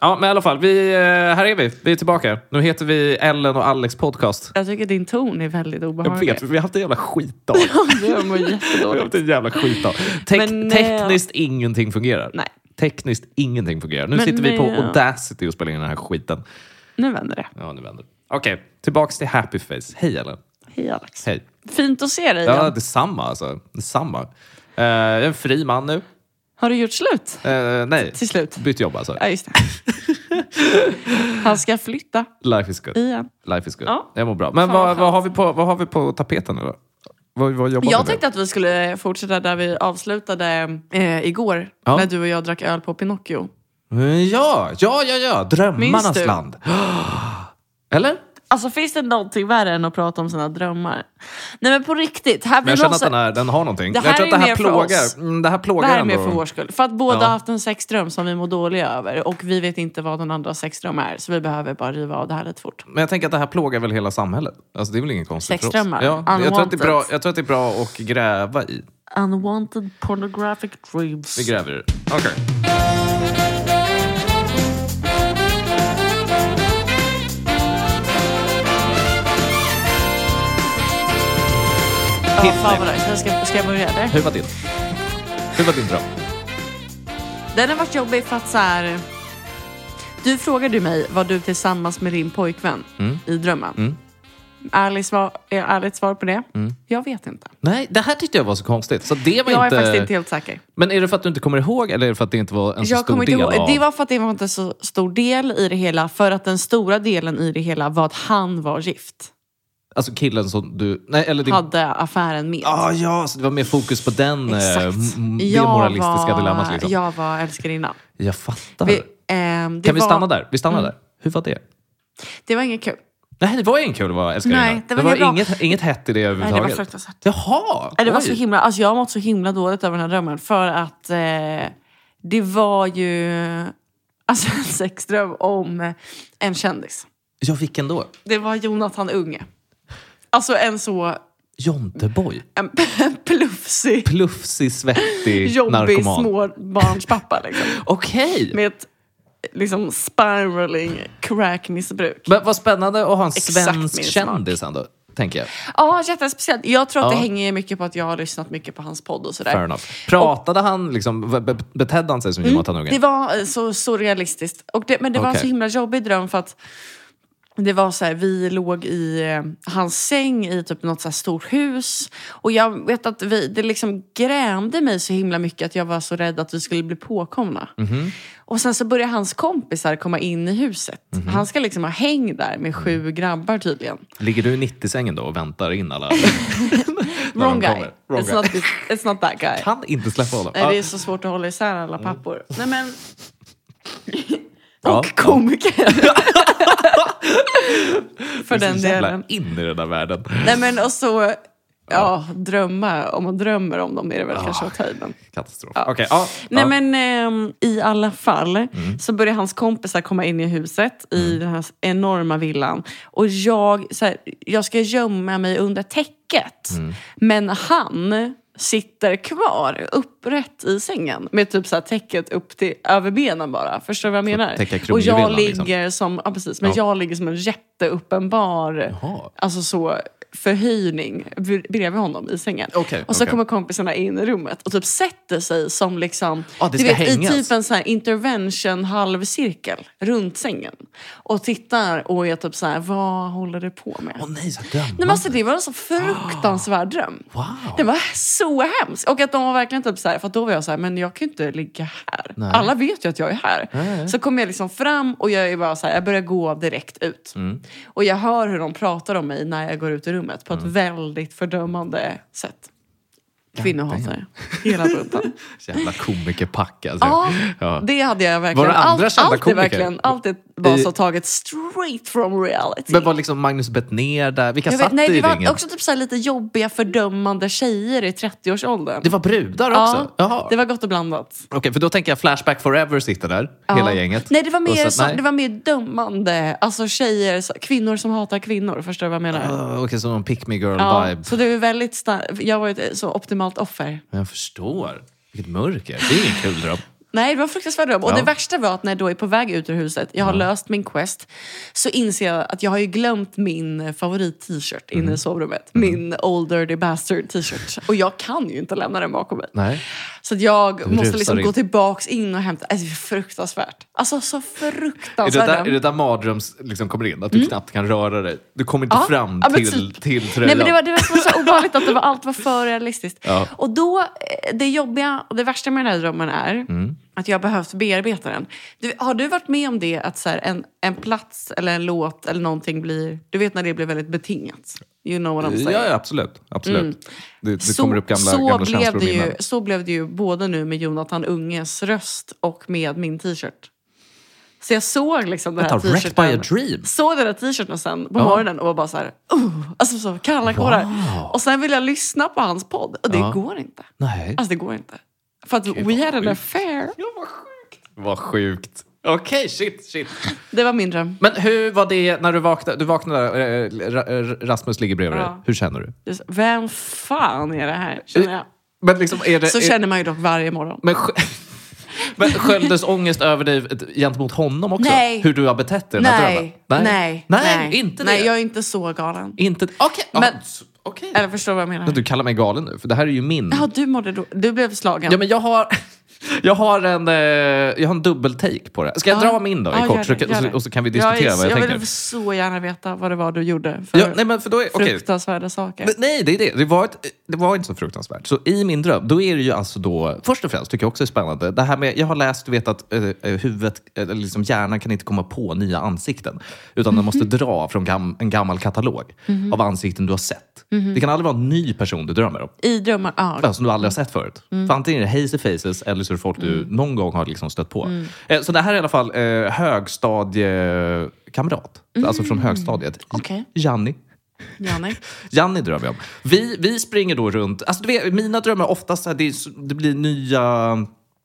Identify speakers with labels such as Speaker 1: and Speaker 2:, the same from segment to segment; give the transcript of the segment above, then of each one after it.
Speaker 1: Ja, men i alla fall. Vi, eh, här är vi. Vi är tillbaka. Nu heter vi Ellen och Alex podcast.
Speaker 2: Jag tycker din ton är väldigt
Speaker 1: Jag
Speaker 2: obehaglig.
Speaker 1: vet, vi har haft en jävla skitdag.
Speaker 2: Jag mår
Speaker 1: Vi har
Speaker 2: jättedåligt.
Speaker 1: haft en jävla skitdag. Tek-
Speaker 2: Men, eh,
Speaker 1: tekniskt ingenting fungerar.
Speaker 2: Nej,
Speaker 1: Tekniskt ingenting fungerar. Nu
Speaker 2: Men,
Speaker 1: sitter vi på
Speaker 2: eh,
Speaker 1: Audacity och spelar in den här skiten.
Speaker 2: nu vänder det.
Speaker 1: Ja, nu vänder det. Okej, tillbaks till happy face. Hej Ellen.
Speaker 2: Hej Alex.
Speaker 1: Hej.
Speaker 2: Fint att se dig igen.
Speaker 1: Ja, detsamma alltså. Detsamma. Uh, jag är en fri man nu.
Speaker 2: Har du gjort slut?
Speaker 1: Eh, nej,
Speaker 2: Till slut?
Speaker 1: bytt jobb alltså.
Speaker 2: Ja, just det. Han ska flytta
Speaker 1: Life is good.
Speaker 2: igen.
Speaker 1: Life is good.
Speaker 2: Ja.
Speaker 1: Jag mår bra. Men
Speaker 2: Fan, vad
Speaker 1: vad, vad,
Speaker 2: skönt.
Speaker 1: har vi på, vad har vi på tapeten nu då? Vad, vad jobbar vi
Speaker 2: Jag
Speaker 1: med?
Speaker 2: tänkte att vi skulle fortsätta där vi avslutade eh, igår.
Speaker 1: Ja.
Speaker 2: När du och jag drack öl på Pinocchio.
Speaker 1: Ja, ja, ja, ja.
Speaker 2: Minns
Speaker 1: Drömmarnas
Speaker 2: du?
Speaker 1: land. Eller?
Speaker 2: Alltså finns det någonting värre än att prata om sina drömmar? Nej men på riktigt. Här
Speaker 1: Men jag
Speaker 2: blir
Speaker 1: känner
Speaker 2: någon
Speaker 1: att
Speaker 2: så-
Speaker 1: den, här, den har någonting.
Speaker 2: Det
Speaker 1: jag
Speaker 2: här
Speaker 1: tror att
Speaker 2: är
Speaker 1: det här
Speaker 2: mer för oss.
Speaker 1: plågar. Mm, det här plågar
Speaker 2: Det här är
Speaker 1: ändå.
Speaker 2: mer för vår skull. För att båda
Speaker 1: Ja.
Speaker 2: har haft en sexdröm som vi mår dåliga över. Och vi vet inte vad den andra sexdröm är. Så vi behöver bara riva av det här lite fort.
Speaker 1: Men jag tänker att det här plågar väl hela samhället? Alltså det är väl ingen konstigt
Speaker 2: Sexdrömmar.
Speaker 1: för oss? Ja, jag, tror att det är bra,
Speaker 2: Unwanted.
Speaker 1: jag tror att det är bra att gräva i.
Speaker 2: Unwanted pornographic dreams.
Speaker 1: Vi gräver i det. Okej.
Speaker 2: Ja, fan vad nice. Ska, ska jag börja eller?
Speaker 1: Hur var din? Hur var din dröm?
Speaker 2: Den har varit jobbig för att så här... Du frågade ju mig, var du tillsammans med din pojkvän
Speaker 1: Mm.
Speaker 2: i drömmen? Ärligt, svar, är ärligt svar på det?
Speaker 1: Mm.
Speaker 2: Jag vet inte.
Speaker 1: Nej, det här tyckte jag var så konstigt. Så det var
Speaker 2: Jag
Speaker 1: inte...
Speaker 2: är faktiskt inte helt säker.
Speaker 1: Men är det för att du inte kommer ihåg eller är det för att det inte var en så
Speaker 2: Jag
Speaker 1: stor
Speaker 2: kommer inte
Speaker 1: del
Speaker 2: ihåg.
Speaker 1: av...
Speaker 2: Det var för att det var inte så stor del i det hela. För att den stora delen i det hela var att han var gift.
Speaker 1: Alltså killen som du... Nej, eller din...
Speaker 2: Hade affären med.
Speaker 1: Ah, ja, så det var mer fokus på den, eh,
Speaker 2: Exakt.
Speaker 1: m- det
Speaker 2: Jag
Speaker 1: moralistiska
Speaker 2: var-
Speaker 1: dilemmat. Liksom. Jag,
Speaker 2: Jag var älskarinna.
Speaker 1: fattar.
Speaker 2: Vi, ehm, det
Speaker 1: kan vi
Speaker 2: var, Mm.
Speaker 1: stanna där? Vi stannar där. Hur var det?
Speaker 2: Det var inget kul.
Speaker 1: Nej, det var ingen kul att vara älskarinna.
Speaker 2: Nej, det var
Speaker 1: var
Speaker 2: inget bra.
Speaker 1: inget, inget hett i det
Speaker 2: Nej, det var
Speaker 1: överhuvudtaget.
Speaker 2: fruktansvärt.
Speaker 1: Jaha!
Speaker 2: Nej, Det var
Speaker 1: oj.
Speaker 2: så himla, alltså jag har mått så himla dåligt över den här drömmen för att eh, det var ju alltså, en sexdröm om en kändis.
Speaker 1: Ja, vilken då?
Speaker 2: Det var Jonathan Unge. Alltså en så
Speaker 1: Jonteboy.
Speaker 2: en plufsig,
Speaker 1: Plufsig, svettig
Speaker 2: jobbig
Speaker 1: narkoman.
Speaker 2: småbarnspappa liksom.
Speaker 1: Okej!
Speaker 2: Med ett liksom spiraling crackmissbruk.
Speaker 1: Men vad spännande att ha en
Speaker 2: Exakt
Speaker 1: svensk
Speaker 2: min smak.
Speaker 1: kändis ändå, tänker jag.
Speaker 2: Ja, jättespeciellt. Jag tror att
Speaker 1: Ja.
Speaker 2: det hänger mycket på att jag har lyssnat mycket på hans podd och sådär.
Speaker 1: Fair enough. Pratade han, liksom, be- be- betedde han sig som Jonathan Unge?
Speaker 2: Det var eh, så, så realistiskt. Och det, men det var en
Speaker 1: Okej.
Speaker 2: så himla jobbig dröm för att det var så här, vi låg i eh, hans säng i typ något så här stort hus. Och jag vet att vi, det liksom grämde mig så himla mycket att jag var så rädd att vi skulle bli påkomna.
Speaker 1: Mhm.
Speaker 2: Och sen så börjar hans kompisar komma in i huset.
Speaker 1: Mhm.
Speaker 2: Han ska liksom ha häng där med sju grabbar tydligen.
Speaker 1: Ligger du i 90-sängen då och väntar in alla? När de
Speaker 2: Wrong guy.
Speaker 1: kommer. Wrong
Speaker 2: it's,
Speaker 1: guy.
Speaker 2: Not, it's not that guy.
Speaker 1: Kan inte släppa honom.
Speaker 2: Nej,
Speaker 1: Ja. Mm.
Speaker 2: det är så svårt att hålla isär alla pappor. Nej, men...
Speaker 1: Ja,
Speaker 2: Och komiker. För
Speaker 1: Det är
Speaker 2: den
Speaker 1: så jävla
Speaker 2: delen.
Speaker 1: in i den där världen.
Speaker 2: Nej men och så, ja, drömma. Om man drömmer om dem är det väl kanske att ta i, men.
Speaker 1: Katastrof. Okej, ja.
Speaker 2: Nej
Speaker 1: ja. Mm.
Speaker 2: men ehm, i alla fall så börjar hans kompisar komma in i huset i den här enorma villan. Och jag, så här, jag ska gömma mig under täcket.
Speaker 1: Mm.
Speaker 2: Men han sitter kvar upprätt i sängen med typ så här täcket upp till över benen bara. Förstår du vad jag menar?
Speaker 1: täcka
Speaker 2: Och jag
Speaker 1: kronjuvelerna, liksom.
Speaker 2: ligger som, ja precis, men
Speaker 1: Ja.
Speaker 2: jag ligger som en jätteuppenbar
Speaker 1: Jaha.
Speaker 2: alltså så, förhöjning b- bredvid honom i sängen.
Speaker 1: Okej,
Speaker 2: och så
Speaker 1: okej.
Speaker 2: kommer kompisarna in i rummet och typ sätter sig som liksom,
Speaker 1: Ah, det
Speaker 2: du
Speaker 1: ska
Speaker 2: vet
Speaker 1: hängas.
Speaker 2: i typ en så här intervention halvcirkel runt sängen. Och tittar och är typ så här, vad håller du på med?
Speaker 1: Åh nej, så dömande.
Speaker 2: Nej, men alltså, det var en så fruktansvärd dröm.
Speaker 1: Wow.
Speaker 2: Det var så hemskt. Och att de var verkligen typ så här, för att då var jag så här, men jag kan ju inte ligga här.
Speaker 1: Nej.
Speaker 2: Alla vet ju att jag är här.
Speaker 1: Nej.
Speaker 2: Så kom jag liksom fram och jag är bara så här, jag börjar gå direkt ut.
Speaker 1: Mm.
Speaker 2: Och jag hör hur de pratar om mig när jag går ut i rummet på ett
Speaker 1: Mm.
Speaker 2: väldigt fördömande sätt. Kvinnohatare. Hela bunten.
Speaker 1: Så jävla komikerpack alltså.
Speaker 2: Ja,
Speaker 1: Ja.
Speaker 2: det hade jag verkligen.
Speaker 1: Var det andra
Speaker 2: allt,
Speaker 1: kända
Speaker 2: allt, är
Speaker 1: komiker?
Speaker 2: verkligen, allt är var
Speaker 1: I-
Speaker 2: så taget straight from reality.
Speaker 1: Men var liksom Magnus Bettner där? Vilka
Speaker 2: Jag
Speaker 1: satt
Speaker 2: vet, nej,
Speaker 1: i
Speaker 2: det var
Speaker 1: ringen?
Speaker 2: också typ så här lite jobbiga fördömande tjejer i 30-årsåldern.
Speaker 1: Det var brudar också?
Speaker 2: Ja,
Speaker 1: Jaha.
Speaker 2: det var gott och blandat.
Speaker 1: Okej, för då tänker jag Flashback Forever sitter där, hela
Speaker 2: ja.
Speaker 1: gänget.
Speaker 2: Nej, det var,
Speaker 1: Och
Speaker 2: mer
Speaker 1: sen-
Speaker 2: så,
Speaker 1: nej.
Speaker 2: det var mer dömande. Alltså tjejer, så- kvinnor som hatar kvinnor. Förstår du vad jag menar?
Speaker 1: Ah, Okej, så någon pick me girl
Speaker 2: Ja,
Speaker 1: vibe.
Speaker 2: så det var väldigt starkt. Jag var ett så optimalt offer.
Speaker 1: Men jag förstår. Vilket mörker. Det är ingen kul dröm.
Speaker 2: Nej, det var fruktansvärt rum. Och
Speaker 1: Ja.
Speaker 2: det värsta var att när jag då är på väg ut ur huset, jag har löst min quest, så inser jag att jag har ju glömt min favorit-t-shirt inne
Speaker 1: Mhm.
Speaker 2: i sovrummet. Min Old Dirty Bastard t-shirt. Och jag kan ju inte lämna den bakom mig.
Speaker 1: Nej.
Speaker 2: Så att jag måste
Speaker 1: rusar
Speaker 2: liksom
Speaker 1: in.
Speaker 2: gå tillbaks in och hämta. Alltså, det är fruktansvärt. Alltså så
Speaker 1: Är det,
Speaker 2: fruktansvärt.
Speaker 1: där,
Speaker 2: rum.
Speaker 1: är det där mardröms liksom kommer in? Att du knappt kan röra dig? Du kommer inte
Speaker 2: Ja.
Speaker 1: fram
Speaker 2: Ja, men
Speaker 1: till,
Speaker 2: typ.
Speaker 1: till tröjan?
Speaker 2: Nej, men det var, det var så, så ovanligt att det var, allt var för realistiskt.
Speaker 1: Ja.
Speaker 2: Och då, eh, det jobbiga och det värsta med den här drömmen är
Speaker 1: Mm.
Speaker 2: att jag har behövt bearbeta den. Du, har du varit med om det att så här, en, en plats eller en låt eller någonting blir... Du vet när det blir väldigt betingat? You know what I'm saying?
Speaker 1: Ja, ja, absolut. absolut. Det, det
Speaker 2: Mm. Så-
Speaker 1: kommer upp gamla,
Speaker 2: så,
Speaker 1: gamla
Speaker 2: blev
Speaker 1: känslor och
Speaker 2: det ju,
Speaker 1: minnen.
Speaker 2: så blev det ju både nu med Jonathan Unges röst och med min t-shirt. Så jag såg liksom den här
Speaker 3: Vänta, Wrecked by a
Speaker 2: t-shirten.
Speaker 3: dream?
Speaker 2: Såg den här t-shirten sen på morgonen och var bara så här, oh, alltså så kalla kårar. Och sen vill jag lyssna på hans podd och det
Speaker 1: Ja.
Speaker 2: går inte.
Speaker 3: Nej.
Speaker 2: Alltså det går inte. För att we had an affair.
Speaker 1: Vad sjukt. Okej, shit, shit.
Speaker 2: Det var min dröm.
Speaker 1: Men hur var det när du vaknade? Du vaknade, eh, Ra- eh, Rasmus ligger bredvid dig.
Speaker 2: Ja.
Speaker 1: Hur känner du?
Speaker 2: Det är så, Vem fan är det här? Känner jag.
Speaker 1: Men liksom, är det...
Speaker 2: Så
Speaker 1: är,
Speaker 2: känner man ju dock varje morgon.
Speaker 1: men, sk- men sköljdes ångest över dig gentemot honom också?
Speaker 2: Nej.
Speaker 1: Hur du har betett dig i den här
Speaker 2: Nej,
Speaker 1: drömmen?
Speaker 2: nej,
Speaker 1: Nej.
Speaker 2: nej.
Speaker 1: inte det.
Speaker 2: Nej, jag är inte så galen.
Speaker 1: Inte... Okej.
Speaker 2: Men-
Speaker 1: ja, s- okej.
Speaker 2: Eller förstår du vad jag menar?
Speaker 1: Men Du kallar mig galen nu, för det här är ju min...
Speaker 2: Ja, du mådde då. Du blev slagen.
Speaker 1: Ja, men jag har... Jag har en, eh, jag har en dubbeltake på det. Ska jag
Speaker 2: Ja.
Speaker 1: dra min då i
Speaker 2: Ja,
Speaker 1: kort?
Speaker 2: gör
Speaker 1: Så,
Speaker 2: det, gör
Speaker 1: kan-
Speaker 2: det.
Speaker 1: och, så, och så kan vi diskutera vad jag,
Speaker 2: jag
Speaker 1: tänker.
Speaker 2: vill så gärna veta vad det var du gjorde för
Speaker 1: Ja, nej, men för då är, okej.
Speaker 2: fruktansvärda saker.
Speaker 1: Men Nej, det är det. Det var, ett, det var inte så fruktansvärt. Så i min dröm, då är det ju alltså då... Först och främst tycker jag också är spännande. Det här med, jag har läst, du vet att eh, eh, huvudet, eller liksom hjärnan kan inte komma på nya ansikten. Utan den
Speaker 2: Mhm.
Speaker 1: måste dra från gam, en gammal katalog av ansikten du har sett.
Speaker 2: Mhm.
Speaker 1: Det kan aldrig vara en ny person du drömmer om.
Speaker 2: I drömmar, ja.
Speaker 1: Ja, som du aldrig
Speaker 2: Mm.
Speaker 1: har sett förut. För antingen är det hazy faces eller så är det folk du någon gång har liksom stött på.
Speaker 2: Mm.
Speaker 1: Eh, Så det här är i alla fall eh, högstadiekamrat. Alltså från högstadiet.
Speaker 2: Mm. Okej.
Speaker 1: Janni.
Speaker 2: Janni.
Speaker 1: Janni drömmer jag om. Vi, vi springer då runt. Alltså, du vet, mina drömmar är oftast så här, det, är, så- det blir nya,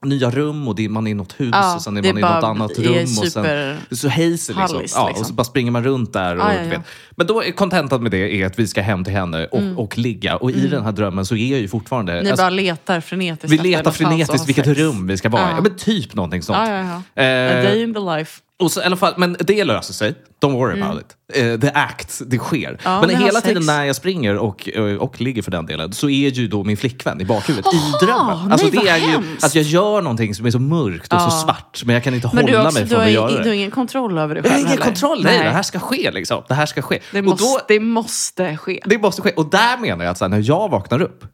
Speaker 1: nya rum och det, är- man är i något hus
Speaker 2: Ja,
Speaker 1: och sen är
Speaker 2: det
Speaker 1: man i något
Speaker 2: bara-
Speaker 1: annat
Speaker 2: det är
Speaker 1: rum. Och sen,
Speaker 2: super-
Speaker 1: det är så hazy liksom.
Speaker 2: Hallis,
Speaker 1: Ja, och
Speaker 2: liksom.
Speaker 1: så bara springer man runt där. Och,
Speaker 2: Ja, ja,
Speaker 1: du
Speaker 2: ja.
Speaker 1: Vet. Men då är kontentan med det är att vi ska hem till henne och, och ligga. Och i den här drömmen så är jag ju fortfarande...
Speaker 2: Mm. Ni
Speaker 1: alltså,
Speaker 2: bara letar frenetiskt.
Speaker 1: vi
Speaker 2: efter
Speaker 1: letar
Speaker 2: någonstans att ha
Speaker 1: frenetiskt vilket
Speaker 2: sex.
Speaker 1: rum vi ska vara i.
Speaker 2: Ja.
Speaker 1: Ja, men typ någonting sånt.
Speaker 2: Ja, ja, ja.
Speaker 1: Eh,
Speaker 2: A day in the life.
Speaker 1: och så, i alla fall, men det löser sig. Don't worry about it. Eh, the act, det sker.
Speaker 2: Mm. Ja,
Speaker 1: men
Speaker 2: ni har
Speaker 1: hela
Speaker 2: sex.
Speaker 1: tiden när jag springer och, eh, och ligger för den delen så är ju då min flickvän i bakhuvudet i drömmen.
Speaker 2: nej, vad
Speaker 1: det är ju,
Speaker 2: hemskt.
Speaker 1: alltså, jag gör någonting som är så mörkt och så svart men jag kan inte
Speaker 2: Men du,
Speaker 1: hålla
Speaker 2: har också,
Speaker 1: mig
Speaker 2: du,
Speaker 1: från
Speaker 2: har,
Speaker 1: att
Speaker 2: ju-
Speaker 1: göra
Speaker 2: du har
Speaker 1: det.
Speaker 2: ingen kontroll över det
Speaker 1: Jag har
Speaker 2: själv
Speaker 1: ingen
Speaker 2: heller.
Speaker 1: kontroll. Nej, det här ska ske. Liksom. Det här ska ske.
Speaker 2: Det
Speaker 1: Och
Speaker 2: måste,
Speaker 1: då-
Speaker 2: det måste ske.
Speaker 1: det måste ske. Och där menar jag att så här, när jag vaknar upp.